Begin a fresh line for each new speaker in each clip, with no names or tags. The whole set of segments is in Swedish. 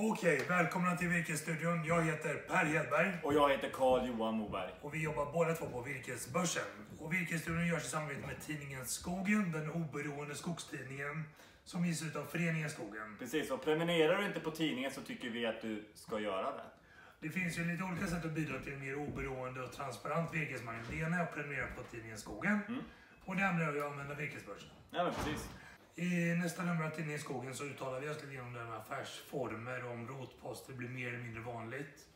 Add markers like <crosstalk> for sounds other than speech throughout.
Okej, välkomna till Virkesstudion. Jag heter Per Hedberg
Och jag heter Carl Johan Moberg.
och vi jobbar båda två på Virkesbörsen. Och Virkesstudion görs i samarbete med tidningen Skogen, den oberoende skogstidningen som ges ut av föreningen Skogen.
Precis, och prenumererar du inte på tidningen så tycker vi att du ska göra det.
Det finns ju lite olika sätt att bidra till en mer oberoende och transparent virkesmarknad. Det ena är att prenumerera på tidningen Skogen och det andra är att använda Virkesbörsen.
Ja, men precis.
I nästa nummer av tidningen Skogen så uttalar vi oss lite grann om det här med affärsformer och om rotposter blir mer eller mindre vanligt.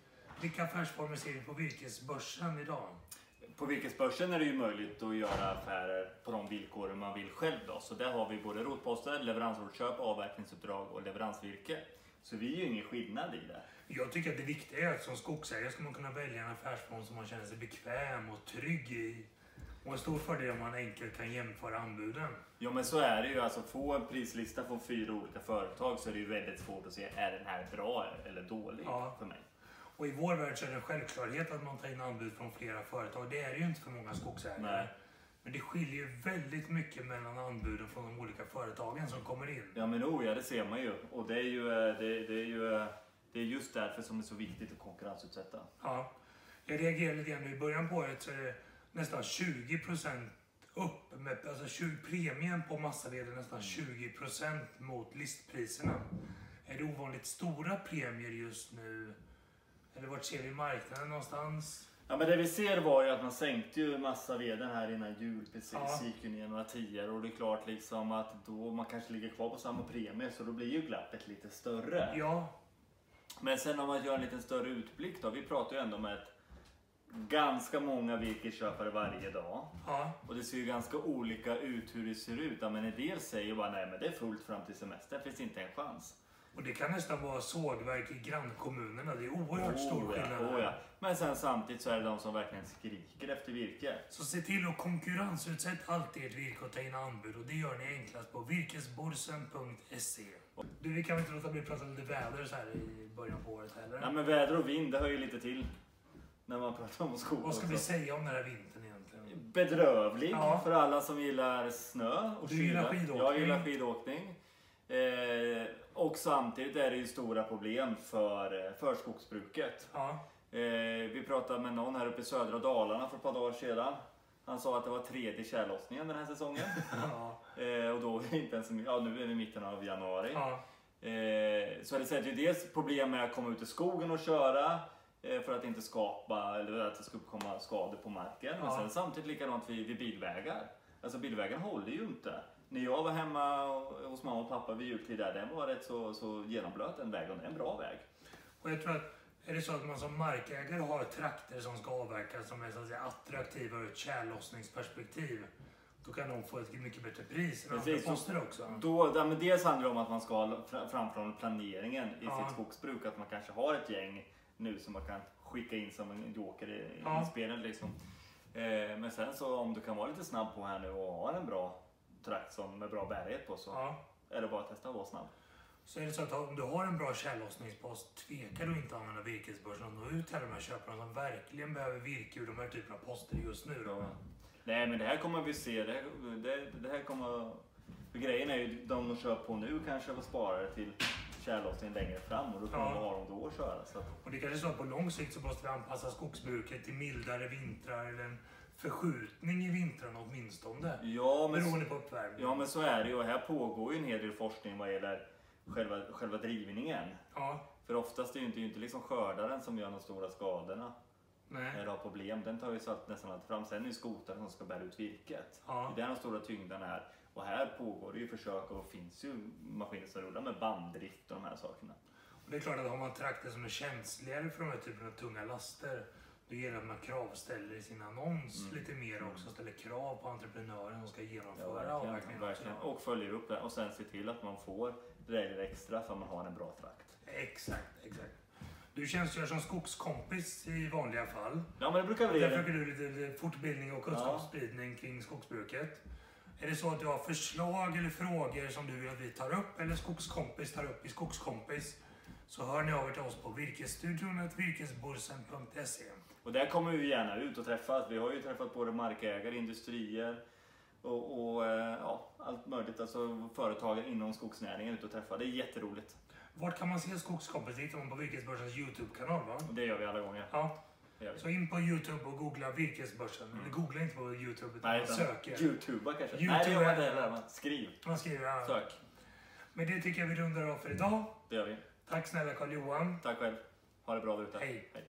Vilka affärsformer ser vi på virkesbörsen idag?
På virkesbörsen är det ju möjligt att göra affärer på de villkor man vill själv. Då. Så där har vi både rotposter, leveransrotköp, avverkningsuppdrag och leveransvirke. Så vi är ju ingen skillnad i det.
Jag tycker att det viktiga är att som skogsägare ska man kunna välja en affärsform som man känner sig bekväm och trygg i. Och en stor fördel är om man enkelt kan jämföra anbuden.
Ja men så är det ju. Alltså få en prislista från fyra olika företag så är det ju väldigt svårt att se, är den här bra eller dålig
Ja.
för mig?
Och i vår värld så är det en självklarhet att man tar in anbud från flera företag. Det är det ju inte för många skogsägare.
Nej.
Men det skiljer ju väldigt mycket mellan anbuden från de olika företagen som kommer in.
Ja men oh, ja, det ser man ju. Och det är ju, eh, det, det är ju eh, det är just därför som det är så viktigt att konkurrensutsätta.
Ja. Jag reagerade lite grann nu i början på året så är det nästan 20 upp. Med, alltså 20, premien på massaved är
Mm.
nästan 20 mot listpriserna. Är det ovanligt stora premier just nu? Eller vart ser vi marknaden någonstans?
Ja men det vi ser var ju att man sänkte ju massa veden här innan jul precis.
Ja.
Gick ju ner några tior och det är klart liksom att då man kanske ligger kvar på samma premie så då blir ju glappet lite större.
Ja,
Men sen om man gör en lite större utblick då. Vi pratar ju ändå med ett ganska många virkesköpare varje dag.
ja,
Och det ser ju ganska olika ut hur det ser ut. Ja, men en del säger ju bara nej men det är fullt fram till semestern, finns inte en chans.
och det kan nästan vara sågverk i grannkommunerna. Det är oerhört stor
Oh ja,
skillnad.
oh ja. Men sen samtidigt så är det de som verkligen skriker efter virke.
Så se till att konkurrensutsätt alltid ert virke och ta in anbud och det gör ni enklast på virkesborsen.se. Du, vi kan väl inte låta bli att prata lite väder så här i början på året heller.
Nej men väder och vind, det hör ju lite till. När man pratar om skog
Vad ska vi
också.
säga om den här vintern egentligen?
Bedrövlig
Ja.
för alla som gillar snö och
Du
kyla.
gillar skidåkning.
Jag gillar skidåkning. Eh, och samtidigt är det ju stora problem för, eh, för skogsbruket.
Ja,
Eh, vi pratade med någon här uppe i södra Dalarna för ett par dagar sedan. Han sa att det var tredje tjällossningen den
<laughs>
här säsongen.
ja,
eh, och då är det inte ens, ja, nu är vi i mitten av januari.
ja.
Eh, så det sätter ju dels problem med att komma ut i skogen och köra eh, för att inte skapa, eller att det ska uppkomma skador på marken. Men
Ja.
sen samtidigt likadant vid, vid bilvägar. Alltså bilvägen håller ju inte. När jag var hemma hos mamma och pappa vid jultid där, den var rätt så, så genomblöt en väg och det är en bra väg.
Och jag tror att är det så att man som markägare har trakter som ska avverkas som är så att säga, attraktiva ur ett tjällossningsperspektiv. Då kan de få ett mycket bättre pris än andra
Precis, Mm. så-
poster också.
Då, ja, men dels handlar det om att man ska ha fra- framförhållning planeringen i
Ja.
sitt skogsbruk. Att man kanske har ett gäng nu som man kan skicka in som en joker i, i
Ja.
spelet. Liksom. Eh, men sen så om du kan vara lite snabb på här nu och ha en bra trakt som med bra bärighet på så
Ja.
är det bara att testa att vara snabb.
Så är det så att om du har en bra tjällossningspost, tveka då inte att använda virkesbörsen och nå ut till alla de här köparna som verkligen behöver virke ur de här typerna av poster just nu. Då.
Nej men det här kommer vi se. Det här, det, det här kommer... för Grejen är ju de de kör på nu kanske och sparar det till tjällossningen längre fram och då kommer
Ja.
de ha dem då att köra. Så att,
Och det kanske är så att på lång sikt så måste vi anpassa skogsbruket till mildare vintrar eller en förskjutning i vintrarna åtminstone.
ja, men
Beroende på uppvärmning.
Ja men så är det ju och här pågår ju en hel del forskning vad gäller själva, själva drivningen.
Ja,
För oftast är ju inte, det är ju inte liksom skördaren som gör de stora skadorna
nej.
eller har problem. Den tar ju salt, nästan allt fram. Sen är det skotaren som ska bära ut virket.
Ja.
Det är där de stora tyngderna är. Och här pågår det ju försök och finns ju maskiner som rullar med banddrift och de här sakerna.
Och det är klart att har man trakter som är känsligare för de här typerna av tunga laster, då gäller det att man kravställer i sin annons
Mm.
lite mer också. Ställer krav på entreprenören som ska genomföra avverkningen. också.
verkligen. Och följer upp det och sen se till att man får det där lilla extra för att man har en bra trakt.
Exakt, exakt. Du tjänstgör som skogskompis i vanliga fall.
Ja men det brukar
Där
bli det.
försöker du lite- lite fortbildning och kunskapsspridning kring skogsbruket. Är det så att du har förslag eller frågor som du vill att vi tar upp eller skogskompis tar upp i skogskompis så hör ni av er till oss på virkesstudion virkesborsen.se.
Och där kommer vi gärna ut och träffas. Vi har ju träffat både markägare, industrier och, och eh, ja, allt möjligt. Alltså företagare inom skogsnäringen ut och träffa. Det är jätteroligt.
Vart kan man se Skogskompis? Det hittar man på Virkesbörsens YouTube-kanal va?
Det gör vi alla gånger.
Ja.
Det gör vi.
Så in på YouTube och googla Virkesbörsen. Eller googla inte på YouTube utan
Nej,
man
utan
söker.
Youtuba kanske? Nej, det gör man inte heller. men Skriv.
Man skriver ja.
Sök.
Men det tycker jag vi rundar av för idag.
Det gör vi.
Tack snälla Carl-Johan.
Tack själv. Ha det bra där ute.
Hej.
Hej.